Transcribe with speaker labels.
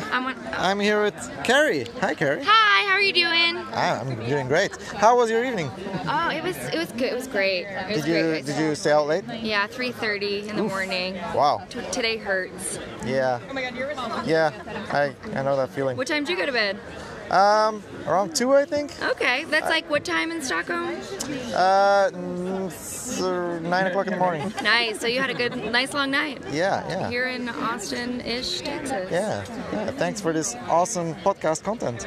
Speaker 1: I'm on.
Speaker 2: I'm here with Carrie. Hi, Carrie.
Speaker 1: Hi, how are you doing?
Speaker 2: Ah, I'm doing great. How was your evening?
Speaker 1: Oh, it was it was good. It was great. It was
Speaker 2: Did you
Speaker 1: great.
Speaker 2: did you stay out late?
Speaker 1: Yeah, 3:30 in the morning.
Speaker 2: Wow.
Speaker 1: T- today hurts.
Speaker 2: Yeah. Oh my God, you're Yeah, I I know that feeling.
Speaker 1: What time did you go to bed?
Speaker 2: Um, around two, I think.
Speaker 1: Okay, that's like what time in Stockholm?
Speaker 2: Uh, mm, s- uh, nine o'clock in the morning.
Speaker 1: Nice. So you had a good, nice long night
Speaker 2: Yeah, yeah.
Speaker 1: here in Austin-ish, Texas.
Speaker 2: Yeah, yeah. Thanks for this awesome podcast content.